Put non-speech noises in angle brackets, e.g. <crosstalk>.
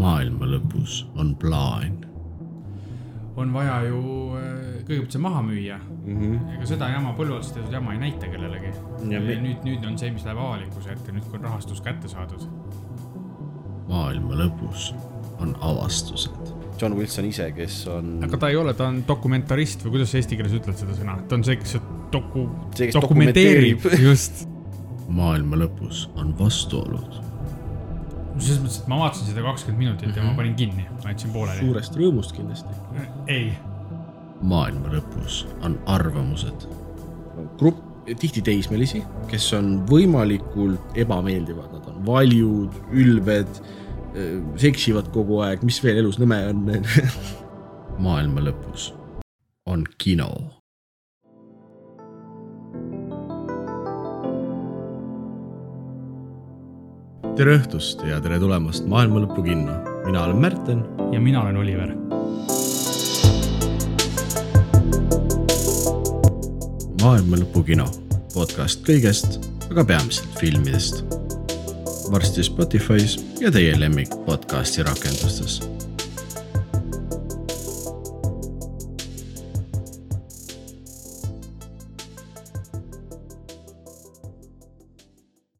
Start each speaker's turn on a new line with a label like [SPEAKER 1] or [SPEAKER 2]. [SPEAKER 1] maailma lõpus on plaan .
[SPEAKER 2] on vaja ju äh, kõigepealt see maha müüa mm .
[SPEAKER 3] Mhm.
[SPEAKER 2] -hmm. ega seda jama põlve otsas tehtud jama ei näita kellelegi .
[SPEAKER 1] Ja mi-
[SPEAKER 2] nüüd , nüüd on see , mis läheb avalikkuse ette , nüüd kui on rahastus kätte saadud .
[SPEAKER 1] maailma lõpus on avastused .
[SPEAKER 3] John Wilson ise , kes on
[SPEAKER 2] aga ta ei ole , ta on dokumentarist või kuidas sa eesti keeles ütled seda sõna , ta on see , kes doku- ,
[SPEAKER 3] See, kes
[SPEAKER 2] dokumenteerib
[SPEAKER 3] dokumenteerib.
[SPEAKER 2] just .
[SPEAKER 1] maailma lõpus on vastuolud .
[SPEAKER 2] selles mõttes , et ma vaatasin seda kakskümmend minutit
[SPEAKER 3] Mhm.
[SPEAKER 2] ja ma panin kinni , ma jätsin pooleli .
[SPEAKER 4] suurest rõõmust kindlasti .
[SPEAKER 2] ei ,
[SPEAKER 1] maailma lõpus on arvamused .
[SPEAKER 4] grupp tihti teismelisi , kes on võimalikult ebameeldivad , nad on valjud , ülbed , seksivad kogu aeg , mis veel elus nõme on ,
[SPEAKER 1] maailma lõpus on kino .
[SPEAKER 4] <laughs> tere õhtust ja tere tulemast Maailma Lõpu kinno . mina olen Märten .
[SPEAKER 2] ja mina olen Oliver .
[SPEAKER 1] maailma lõpu kino , podcast kõigest , aga peamiselt filmidest . varsti Spotify's ja teie lemmik podcasti rakendustes .